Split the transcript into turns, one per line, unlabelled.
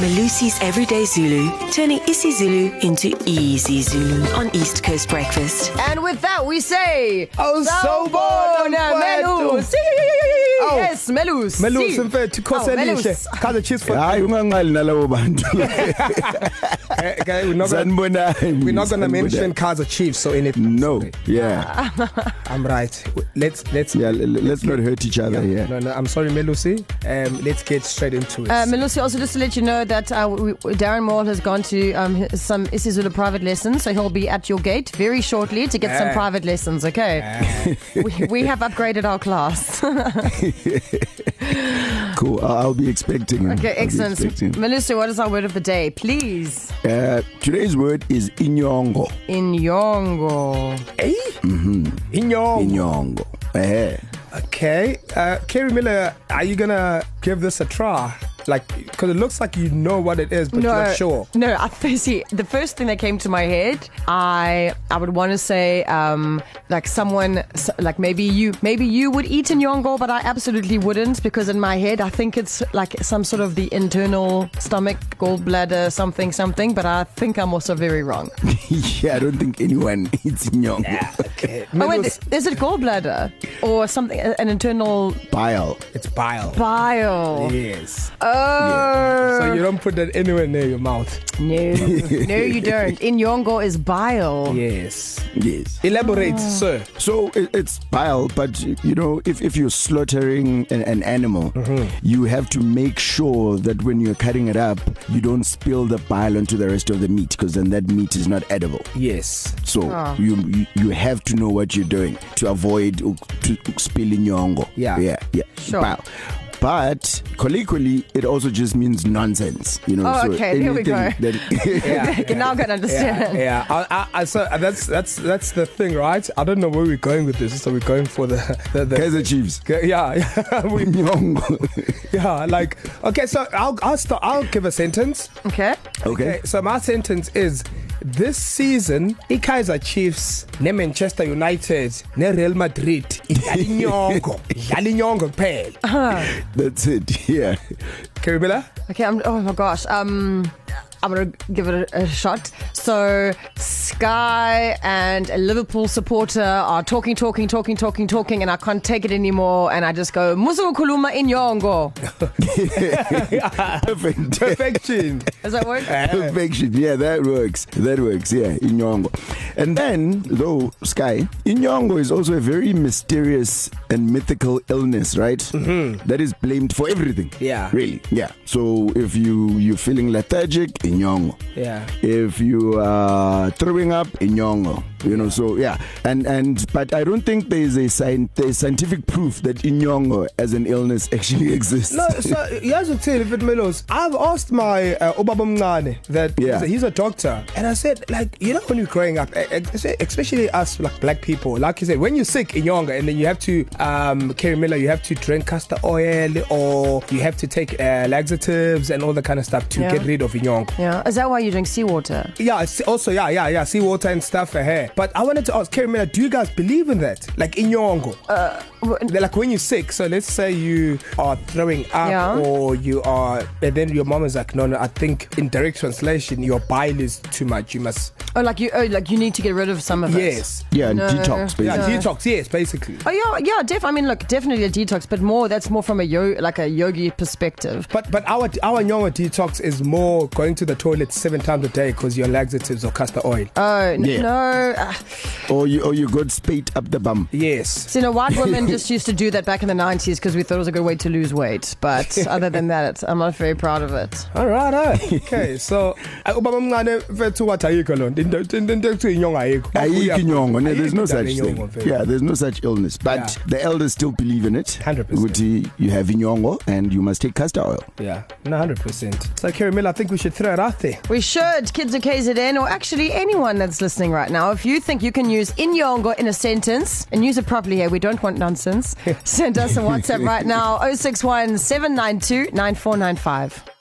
Malusi's Everyday Zulu, turning isiZulu into easy Zulu on East Coast Breakfast.
And with that, we say,
Oh, sawubona, mfethu.
Melusi.
Awu.
Yes, Melus. Oh,
Melusi mfethu khose elihle chaza cheers for
hayi unganqali nalabo bantu
Eh, guy, we're not gonna,
sanibonani
we're not going to mention Ah,
Sanibonani.
Kaiser Chiefs or anything.
no yeah
I'm right. Let's let's
yeah l- l- let's not hurt each other here
No, no, I'm sorry, Melusi. Um, let's get straight into it.
Uh, Melusi, also just to let you know that uh, we, Darren Moore has gone to um, his- some isiZulu private lessons, so he'll be at your gate very shortly to get some
Eh.
private lessons, okay? we, we have upgraded our class.
cool I- i'll be expecting him.
okay,
I'll be
excellent.
expecting him.
Melusi, what is our word of the day? Please.
uh, today's word is inyongo
Inyongo.
Eh?
Mm-hmm.
Inyong.
inyongo eh
Okay. Uh, Kerry Miller, are you going to give this a try? Like, because it looks like you know what it is, but you're not sure.
No, I th- see. The first thing that came to my head, I I would want to say um, like someone s- like maybe you maybe you would eat in yongo, but I absolutely wouldn't because in my head I think it's like some sort of the internal stomach gallbladder something something. But I think I'm also very wrong.
yeah i don't think anyone eats inyongo
Ah, Okay.
Oh wait,
Melusi,
is it gallbladder or something? An internal
bile
it's bile.
bile?
Yes.
Oh
So you don't put that anywhere near your mouth.
no, no, you don't. In yongo is bile.
Yes.
yes
Elaborate, sir.
So it, it's bile, but you know, if, if you're slaughtering an, an animal, mm-hmm. you have to make sure that when you're cutting it up, you don't spill the bile onto the rest of the meat, because then that meat is not edible.
Yes.
So
Ah.
oh. you, you you have to know what you're doing to avoid uk- to spilling your ongo.
Yeah.
yeah, yeah.
Sure.
Bile. But colloquially, it also just means nonsense. You know,
Oh,
so
okay, here we
anything
go.
That,
Yeah.
I can now can
Yeah,
understand.
yeah. I, I, I, so uh, that's that's that's the thing, right? I don't know where we're going with this. So we're going for the the, the
Kaiser Chiefs.
yeah, yeah, we,
Nyongo.
yeah. Like, okay, so I'll I'll start, I'll give a sentence.
Okay.
okay.
So my sentence is: This season, the Kaiser Chiefs, ne Manchester United, ne Real Madrid, Dalinyongo, Dalinyongo, pale.
That's it. Yeah.
Kiribilla,
Okay, I'm, oh my gosh. Um, I'm gonna give it a, a shot. So, Sky and a Liverpool supporter are talking, talking, talking, talking, talking, and I can't take it anymore. And I just go, Muzo Kuluma in Yongo.
Perfect.
perfection.
Does that work?
Eh? Perfection. Yeah, that works. That works. Yeah, Inyongo. And then, though, Sky, Inyongo is also a very mysterious and mythical illness, right? Mm-hmm. That is blamed for everything.
Yeah.
Really. Yeah. So if you, you're feeling lethargic, Inyongo.
Yeah.
If you are throwing up, Inyongo. You know, so yeah. And, and, but I don't think there is a scien- there's scientific proof that Inyongo as an illness actually exists.
No, so here's the thing, Fit Melos. I've asked my uh, Obaba Mnane that
Yeah.
he's, a, he's a doctor, and I said, like, you know, when you're growing up, e- e- especially us, like black people, like you said, when you're sick in younger, and then you have to, um, Kerry Miller, you have to drink castor oil or you have to take uh, laxatives and all that kind of stuff to
Yeah.
get rid of young.
Yeah. Is that why you drink seawater?
Yeah, it's also, yeah, yeah, yeah, seawater and stuff for hair. But I wanted to ask Kerry Miller, do you guys believe in that? Like, in Yongo?
W-
They're like when you're sick, so let's say you are throwing up
Yeah.
or you are, and then your mom is like, no, no, I think in direct translation, your bile is too much. You must,
Oh, like you, oh, like you need to get rid of some of it.
yes.
yeah,
No.
detox, basically.
Yeah, detox, yes, basically.
Oh yeah, yeah, def. I mean, look, definitely a detox, but more. That's more from a yo, like a yogi perspective.
But but our our Nyonga detox is more going to the toilet seven times a day because your laxatives or castor oil.
Oh n-
Yeah.
no! Uh,
Or you, or you got spate up the bum.
yes.
So, you know, white women just used to do that back in the 90s because we thought it was a good way to lose weight. But other than that, it's, I'm not very proud of it.
All right, all right. okay. So, uh, ubaba mncane mfethu wathi ayikho loo nto. Into- into- into ekuthiwa inyonga ayikho.
Ayikho inyongo. No, there's no
Ayikho
such
indaba
thing.
yenyongo, mfethu.
Yeah, there's no such illness. But
Yeah.
yeah. the elders still believe in it.
100%.
Ukuthi you have inyongo and you must take castor oil.
Yeah, no, 100%. So, Kerry Miller, I think we should throw it out there.
We should, kids of KZN, or actually anyone that's listening right now, if you think you can use inyongo in a sentence and use it properly here, we don't want oh nonsense, send us a WhatsApp right now 061 792 9495.